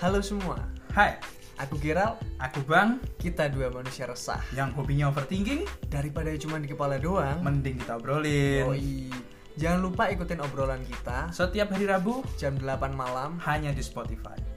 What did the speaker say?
Halo semua, Hai, aku Geral. aku Bang Kita dua manusia resah. yang hobinya overthinking, Daripada cuma di kepala doang. mending kita obrolin. Yoi. Jangan lupa ikutin obrolan kita Setiap hari Rabu jam 8 malam hanya di Spotify.